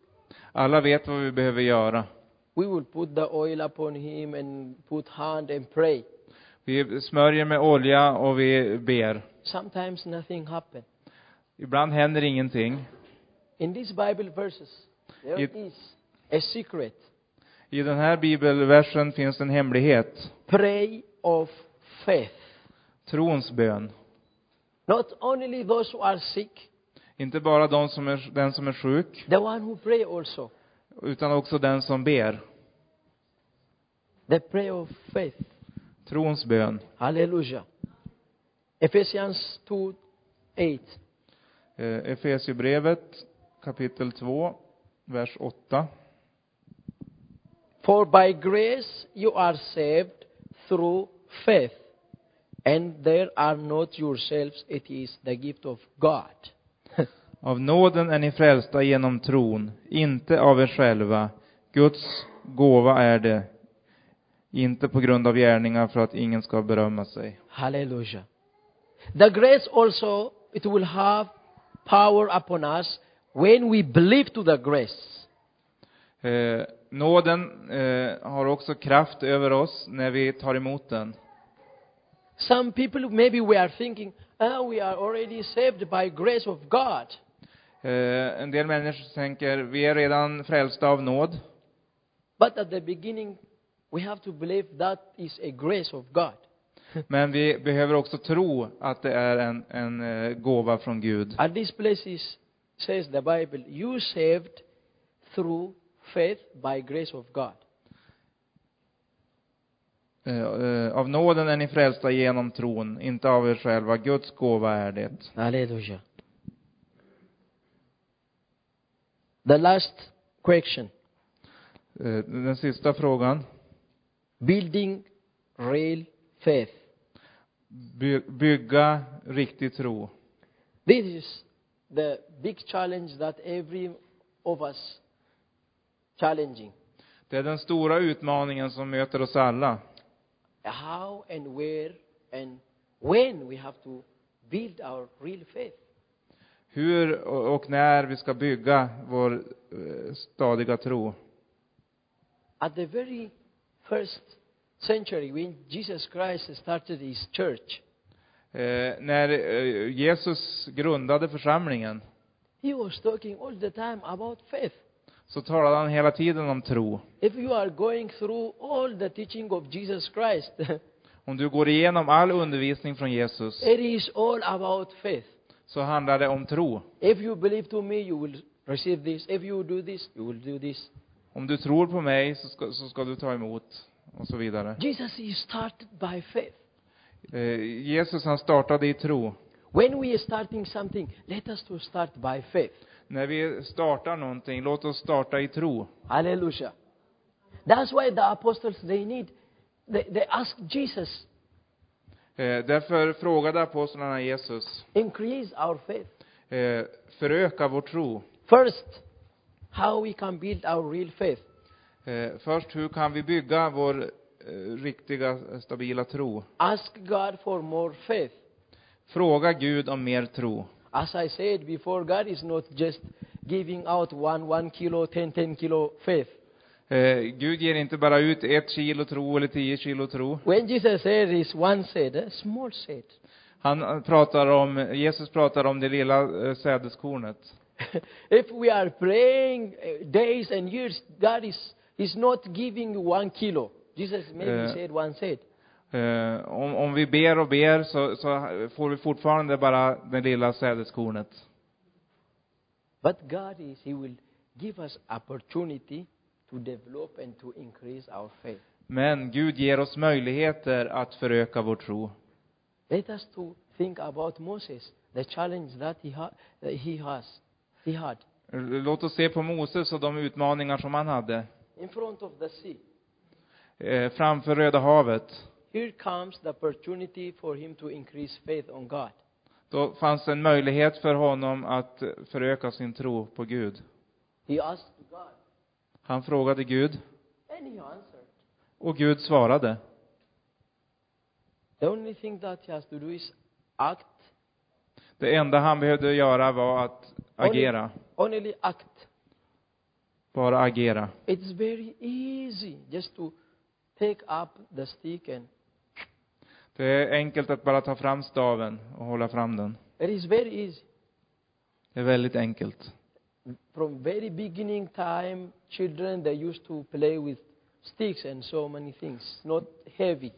Speaker 2: Alla vet vad vi behöver göra.
Speaker 1: We will put the oil upon him and put hand and pray.
Speaker 2: Vi smörjer med olja och vi ber.
Speaker 1: Sometimes nothing happens.
Speaker 2: Ibland händer ingenting.
Speaker 1: In these Bible verses, there is
Speaker 2: It-
Speaker 1: a secret.
Speaker 2: I den här bibelversen finns en hemlighet.
Speaker 1: Pray of faith.
Speaker 2: Trons bön.
Speaker 1: Not only those who are sick,
Speaker 2: Inte bara de som är, den som är sjuk,
Speaker 1: the one who pray also.
Speaker 2: utan också den som ber.
Speaker 1: The prayer of faith.
Speaker 2: Trons bön.
Speaker 1: Hallelujah. Ephesians 2 8.
Speaker 2: Eh, Efesierbrevet kapitel 2, vers 8.
Speaker 1: For by grace you are saved through faith, and there are not yourselves, it is the gift of God.
Speaker 2: Av nåden är ni frälsta genom tron, inte av er själva. Guds gåva är det, inte på grund av gärningar för att ingen ska berömma sig.
Speaker 1: Hallelujah. The grace also, it will have power upon us when we believe to the grace.
Speaker 2: Eh, nåden eh, har också kraft över oss när vi tar emot den.
Speaker 1: Some people, maybe we are thinking, ah, we are already saved by grace of God.
Speaker 2: Eh, en del människor tänker, vi är redan frälsta av nåd.
Speaker 1: But at the beginning, we have to believe that is a grace of God.
Speaker 2: Men vi behöver också tro att det är en, en eh, gåva från Gud.
Speaker 1: At these places, says the Bible, you saved through faith by grace of God.
Speaker 2: Eh, eh, av nåden är ni frälsta genom tron, inte av er själva. Guds gåva är det.
Speaker 1: Hallelujah. The last question
Speaker 2: Eh, den sista frågan.
Speaker 1: building real faith.
Speaker 2: By, bygga riktig tro.
Speaker 1: This is the big challenge that every of us challenging.
Speaker 2: Det är den stora utmaningen som möter oss alla.
Speaker 1: How and where and when we have to build our real faith.
Speaker 2: Hur och och när vi ska bygga vår eh, stadiga tro.
Speaker 1: At the very first century, when Jesus Christ started his church,
Speaker 2: Eh, när eh, Jesus grundade församlingen
Speaker 1: he was talking all the time about faith.
Speaker 2: så talade han hela tiden om tro.
Speaker 1: If you are going through all the teaching of Jesus Christ, [LAUGHS]
Speaker 2: Om du går igenom all undervisning från Jesus
Speaker 1: it is all about faith.
Speaker 2: så handlar det om tro.
Speaker 1: If you believe to me, you will receive this. If you do this, you will do this.
Speaker 2: Om du tror på mig så ska, så ska du ta emot och så vidare.
Speaker 1: Jesus is started by faith.
Speaker 2: Eh, Jesus han startade i tro.
Speaker 1: When we are starting something, let us to start by faith.
Speaker 2: När vi startar någonting, låt oss starta i tro.
Speaker 1: Hallelujah. That's why the apostles they need they, they ask Jesus,
Speaker 2: Eh, därför frågade apostlarna Jesus,
Speaker 1: increase our faith.
Speaker 2: eh, föröka vår tro.
Speaker 1: First, how we can build our real faith.
Speaker 2: Eh, först, hur kan vi bygga vår eh, riktiga, eh, stabila tro?
Speaker 1: Ask God for more faith.
Speaker 2: Fråga Gud om mer tro.
Speaker 1: As I said before, God is not just giving out one one kilo, ten ten kilo faith.
Speaker 2: Eh, Gud ger inte bara ut ett kilo tro eller tio kilo tro.
Speaker 1: When Jesus said is one seed, a small seed.
Speaker 2: Han eh, pratar om, Jesus pratar om det lilla eh, sädeskornet.
Speaker 1: [LAUGHS] if we are praying uh, days and years, God is, is not giving you one kilo. Jesus maybe
Speaker 2: Yeah.
Speaker 1: said one said.
Speaker 2: Eh, om, om vi ber och ber så, så får vi fortfarande bara det lilla sädeskornet.
Speaker 1: But God is, He will give us opportunity to develop and to increase our faith.
Speaker 2: Men Gud ger oss möjligheter att föröka vår tro.
Speaker 1: Let us to think about Moses, the challenge that he, ha- that he has, he had
Speaker 2: Låt oss se på Moses och de utmaningar som han hade.
Speaker 1: in front of the sea.
Speaker 2: Eh, framför Röda havet.
Speaker 1: Here comes the opportunity for him to increase faith on God.
Speaker 2: Då fanns en möjlighet för honom att eh, föröka sin tro på Gud.
Speaker 1: He asked God,
Speaker 2: Han frågade Gud
Speaker 1: and He answered.
Speaker 2: och Gud svarade.
Speaker 1: The only thing that he has to do is act
Speaker 2: Det enda han behövde göra var att agera.
Speaker 1: only act.
Speaker 2: Bara agera.
Speaker 1: It's very easy just to take up the stick and
Speaker 2: Det är enkelt att bara ta fram staven och hålla fram den.
Speaker 1: it is very easy.
Speaker 2: Det är väldigt enkelt.
Speaker 1: From very beginning time, children they used to play with sticks and so many things, not heavy.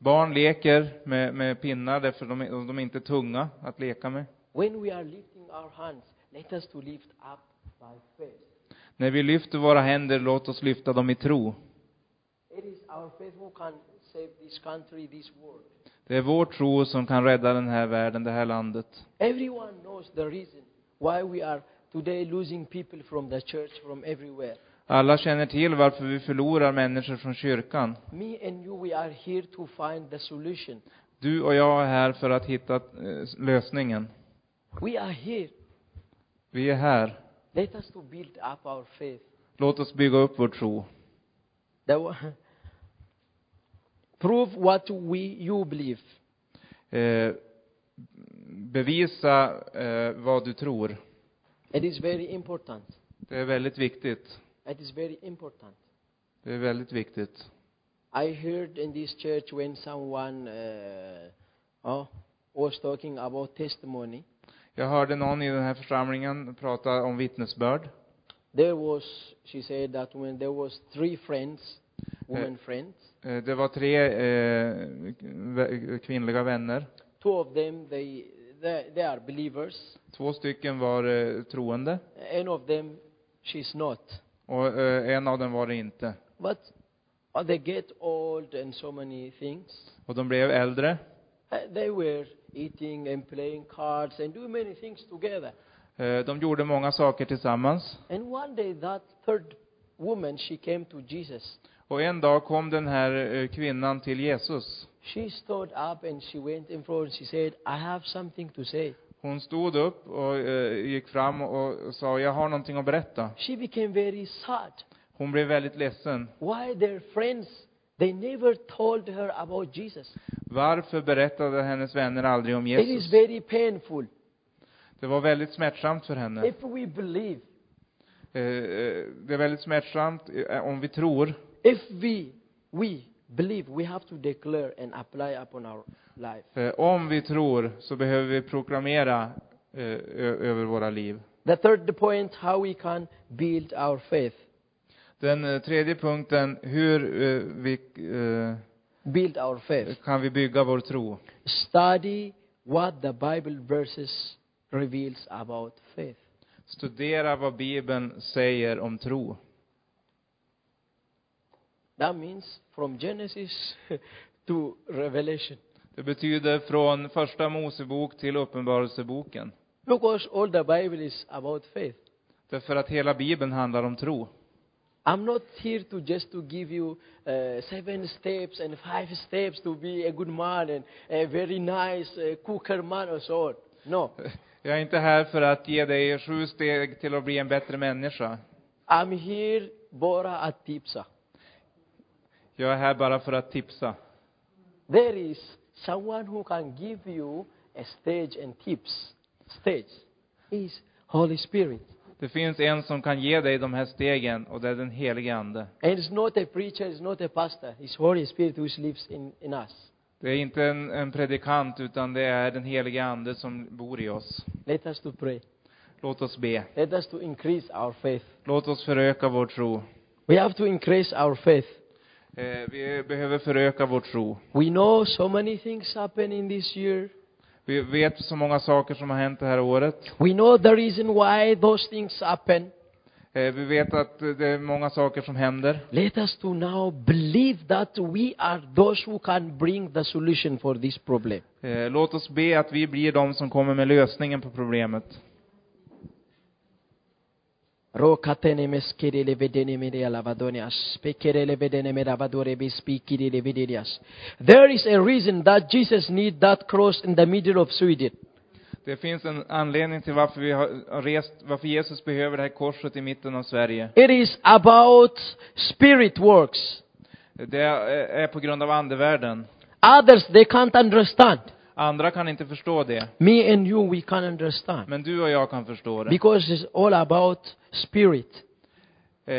Speaker 2: Barn leker med, med pinnar därför de, är- de är inte tunga att leka med.
Speaker 1: When we are lifting our hands, let us to lift up by faith.
Speaker 2: När vi lyfter våra händer, låt oss lyfta dem i tro.
Speaker 1: It is our faith who can save this country, this world.
Speaker 2: Det är vår tro som kan rädda den här världen, det här landet.
Speaker 1: Everyone knows the reason why we are today losing people from the church from everywhere.
Speaker 2: Alla känner till varför vi förlorar människor från kyrkan.
Speaker 1: Me and you, we are here to find the solution.
Speaker 2: Du och jag är här för att hitta eh, lösningen.
Speaker 1: We are here.
Speaker 2: Vi är här.
Speaker 1: Let us to build up our faith.
Speaker 2: Låt oss bygga upp vår tro.
Speaker 1: That wa- prove what we you believe.
Speaker 2: Eh, bevisa eh, vad du tror.
Speaker 1: It is very important.
Speaker 2: Det är väldigt viktigt.
Speaker 1: It is very important.
Speaker 2: Det är väldigt viktigt.
Speaker 1: I heard in this church when someone uh, oh, was talking about testimony.
Speaker 2: Jag hörde någon i den här församlingen prata om vittnesbörd.
Speaker 1: There was, she said that when there was three friends, women friends,
Speaker 2: Eh, Det var tre eh, vä- kvinnliga vänner.
Speaker 1: two of them they they, they are believers,
Speaker 2: Två stycken var eh, troende
Speaker 1: and of them she's not.
Speaker 2: och eh, en av dem var det inte.
Speaker 1: But uh, they get old and so many things.
Speaker 2: Och de blev äldre.
Speaker 1: Uh, They were eating and playing cards and doing many things together.
Speaker 2: Eh, De gjorde många saker tillsammans.
Speaker 1: And one day, that third woman, she came to Jesus.
Speaker 2: Och en dag kom den här eh, kvinnan till Jesus.
Speaker 1: She stood up and she went in front. She said, "I have something to say."
Speaker 2: Hon stod upp och eh, gick fram och och sa, jag har någonting att berätta.
Speaker 1: She became very sad.
Speaker 2: Hon blev väldigt ledsen.
Speaker 1: Why their friends, they never told her about Jesus.
Speaker 2: Varför berättade hennes vänner aldrig om
Speaker 1: It is
Speaker 2: Jesus?
Speaker 1: very painful.
Speaker 2: Det var väldigt smärtsamt för henne.
Speaker 1: If we believe,
Speaker 2: Eh, eh, Det är väldigt smärtsamt eh, om vi tror.
Speaker 1: if we, we believe, we have to declare and apply upon our life.
Speaker 2: Eh, Om vi tror så behöver vi proklamera eh, ö- över våra liv.
Speaker 1: The third point, how we can build our faith.
Speaker 2: Den eh, tredje punkten, hur eh, vi, eh,
Speaker 1: Build our faith.
Speaker 2: kan vi bygga vår tro?
Speaker 1: Study what the Bible verses reveals about faith.
Speaker 2: Studera vad Bibeln säger om tro.
Speaker 1: That means from Genesis [LAUGHS] to Revelation.
Speaker 2: Det betyder från första Mosebok till Uppenbarelseboken.
Speaker 1: Because all the Bible is about faith.
Speaker 2: Därför att hela Bibeln handlar om tro.
Speaker 1: I'm not here to just to give you uh, seven steps and five steps to be a good man and a very nice uh, cooker man or so on. No,
Speaker 2: Uh, Jag är inte här för att ge dig sju steg till att bli en bättre människa.
Speaker 1: I'm here bara at tipsa.
Speaker 2: Jag är här bara för att tipsa.
Speaker 1: There is someone who can give you a stage and tips. Stage is Holy Spirit.
Speaker 2: Det finns en som kan ge dig de här stegen och det är den helige Ande.
Speaker 1: And it's not a preacher, it's not a pastor. It's Holy Spirit which lives in, in us.
Speaker 2: Det är inte en, en predikant utan det är den helige Ande som bor i oss.
Speaker 1: Let us to pray.
Speaker 2: Låt oss be.
Speaker 1: Let us to increase our faith.
Speaker 2: Låt oss föröka vår tro.
Speaker 1: We have to increase our faith.
Speaker 2: Eh, vi behöver föröka vår tro.
Speaker 1: We know so many things happen in this year.
Speaker 2: Vi vet så många saker som har hänt det här året.
Speaker 1: We know the reason why those things happen.
Speaker 2: Eh, vi vet att eh, det är många saker som händer.
Speaker 1: Let us to now believe that we are those who can bring the solution for this problem.
Speaker 2: Eh, låt oss be att vi blir de som kommer med lösningen på problemet.
Speaker 1: Rokatene meskere levedene mere alavadonias. Pekere levedene mere avadore bespikire levedenias. There is a reason that Jesus need that cross in the middle of Sweden.
Speaker 2: Det finns en anledning till varför vi har har rest, varför Jesus behöver det här korset i mitten av Sverige.
Speaker 1: It is about spirit works.
Speaker 2: Det är är på grund av andevärlden.
Speaker 1: Others, they can't understand.
Speaker 2: Andra kan inte förstå det,
Speaker 1: Me and you, we can understand.
Speaker 2: men du och jag kan förstå det.
Speaker 1: Because it's all about spirit.
Speaker 2: Eh,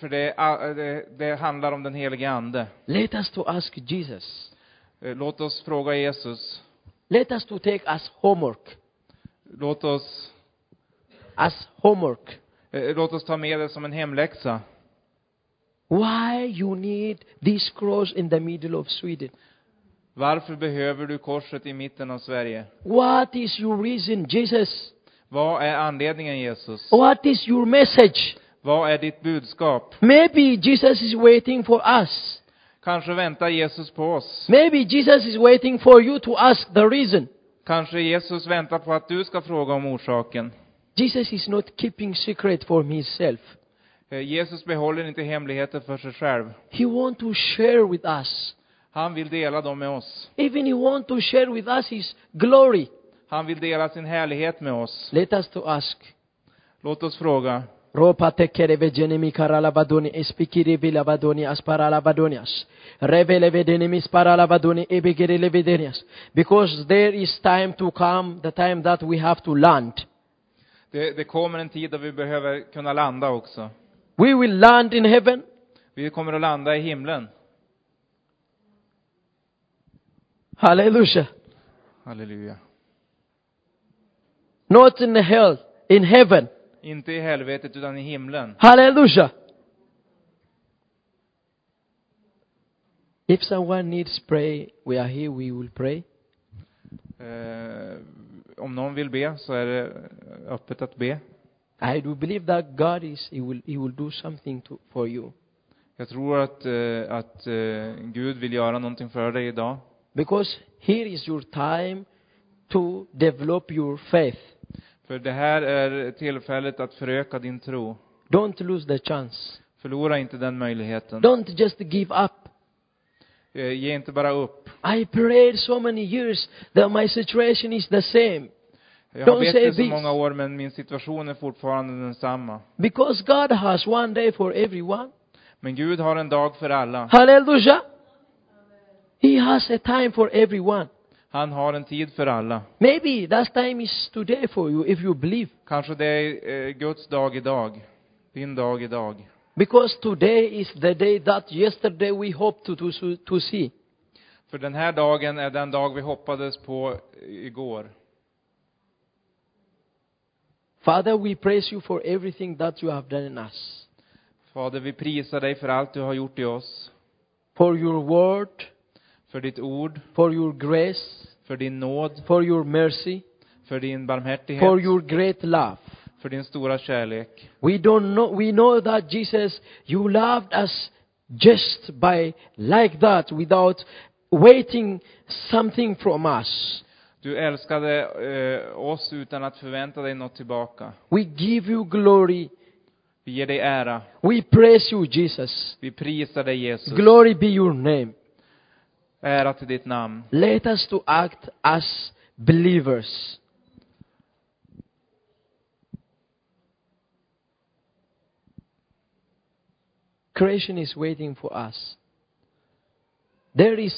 Speaker 2: för det, är a- det, det handlar om den helige Ande.
Speaker 1: Let us to ask Jesus.
Speaker 2: Eh, låt oss fråga Jesus.
Speaker 1: Let us to take as homework.
Speaker 2: Låt oss,
Speaker 1: As homework.
Speaker 2: eh, låt oss ta med det som en hemläxa.
Speaker 1: Why you need this cross in the middle of Sweden?
Speaker 2: Varför behöver du korset i mitten av Sverige?
Speaker 1: What is your reason, Jesus?
Speaker 2: Vad är anledningen Jesus?
Speaker 1: What is your message?
Speaker 2: Vad är ditt budskap?
Speaker 1: Maybe Jesus is waiting for us.
Speaker 2: Kanske väntar Jesus på oss.
Speaker 1: Maybe Jesus is waiting for you to ask the reason.
Speaker 2: Kanske Jesus väntar på att du ska fråga om orsaken.
Speaker 1: Jesus is not keeping secret for himself.
Speaker 2: Eh, Jesus behåller inte hemligheter för sig själv.
Speaker 1: He want to share with us.
Speaker 2: Han vill dela dem med oss.
Speaker 1: Even he want to share with us his glory.
Speaker 2: Han vill dela sin härlighet med oss.
Speaker 1: Let us to ask.
Speaker 2: Låt oss fråga.
Speaker 1: Ropa tekere vegenemi karalabadoni espikiri bilabadoni asparalabadonias. Revele vedenemi sparalabadoni ebegere vedenias. Because there is time to come, the time that we have to land.
Speaker 2: Det, det kommer en tid då vi behöver kunna landa också.
Speaker 1: We will land in heaven.
Speaker 2: Vi kommer att landa i himlen.
Speaker 1: Hallelujah.
Speaker 2: Halleluja.
Speaker 1: Not in hell, in heaven.
Speaker 2: Inte i helvetet utan i himlen.
Speaker 1: Hallelujah. If someone needs pray, we are here, we will pray.
Speaker 2: Eh, om någon vill be så är det öppet att be.
Speaker 1: I do believe that God is, He will, he will do something to, for you.
Speaker 2: Jag tror att, eh, att eh, Gud vill göra någonting för dig idag.
Speaker 1: Because here is your time to develop your faith.
Speaker 2: För det här är tillfället att föröka din tro.
Speaker 1: Don't lose the chance.
Speaker 2: Förlora inte den möjligheten.
Speaker 1: Don't just give up.
Speaker 2: Eh, Ge inte bara upp.
Speaker 1: I prayed so many years that my situation is the same.
Speaker 2: Jag har
Speaker 1: Don't
Speaker 2: bett
Speaker 1: say
Speaker 2: i så
Speaker 1: this.
Speaker 2: många år men min situation är fortfarande densamma.
Speaker 1: Because God has one day for everyone.
Speaker 2: Men Gud har en dag för alla.
Speaker 1: Hallelujah. He has a time for everyone.
Speaker 2: Han har en tid för alla.
Speaker 1: Maybe that time is today for you if you believe.
Speaker 2: Kanske det är eh, Guds dag idag. Din dag idag.
Speaker 1: Because today is the day that yesterday we hoped to, to, to see.
Speaker 2: För den här dagen är den dag vi hoppades på igår.
Speaker 1: Father, we praise you for everything that you have done in us.
Speaker 2: Fader, vi prisar dig för allt du har gjort i oss.
Speaker 1: For your word,
Speaker 2: För ditt ord,
Speaker 1: for your grace,
Speaker 2: för din nåd,
Speaker 1: for your mercy,
Speaker 2: för din barmhärtighet,
Speaker 1: for your great love.
Speaker 2: för din stora kärlek.
Speaker 1: We don't know, we know that Jesus, you loved us just by like that without waiting something from us.
Speaker 2: Du älskade eh, oss utan att förvänta dig något tillbaka.
Speaker 1: We give you glory.
Speaker 2: Vi ger dig ära.
Speaker 1: We praise you, Jesus.
Speaker 2: Vi prisar dig Jesus.
Speaker 1: Glory be your name.
Speaker 2: Ära till ditt namn.
Speaker 1: Let us to act as believers. Creation is waiting for us. There is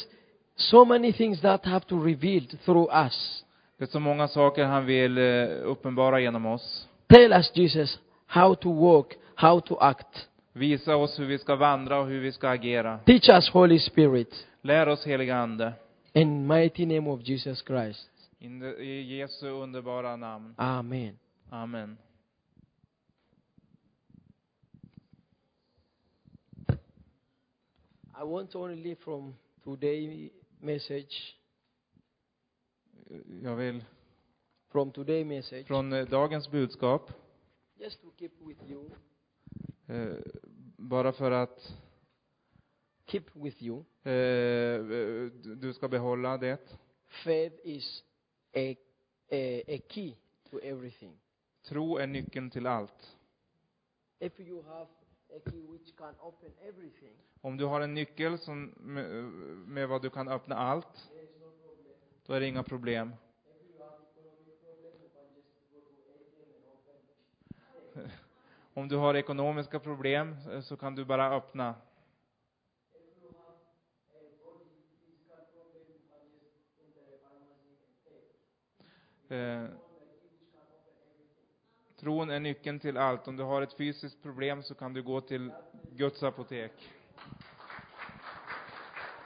Speaker 1: so many things that have to reveal through us.
Speaker 2: Det är så många saker han vill eh, uppenbara genom oss.
Speaker 1: Tell us, Jesus, how to walk, how to act.
Speaker 2: Visa oss hur vi ska vandra och hur vi ska agera.
Speaker 1: Teach us, Holy Spirit,
Speaker 2: Lär oss heliga Ande.
Speaker 1: in mighty name of Jesus Christ.
Speaker 2: In the- I Jesu underbara namn.
Speaker 1: Amen.
Speaker 2: Amen.
Speaker 1: I want only from today message
Speaker 2: Jag vill
Speaker 1: from today message
Speaker 2: från eh, dagens budskap,
Speaker 1: just to keep with you
Speaker 2: eh, bara för att
Speaker 1: keep with you
Speaker 2: eh, eh, du ska behålla det.
Speaker 1: faith is a, a, a key to everything
Speaker 2: Tro är nyckeln till allt.
Speaker 1: if you have a key which can open everything
Speaker 2: Om du har en nyckel som, med, med vad du kan öppna allt, då är det inga problem. [LAUGHS] Om du har ekonomiska problem eh, så kan du bara öppna. Eh, Tron är nyckeln till allt. Om du har ett fysiskt problem så kan du gå till Guds apotek.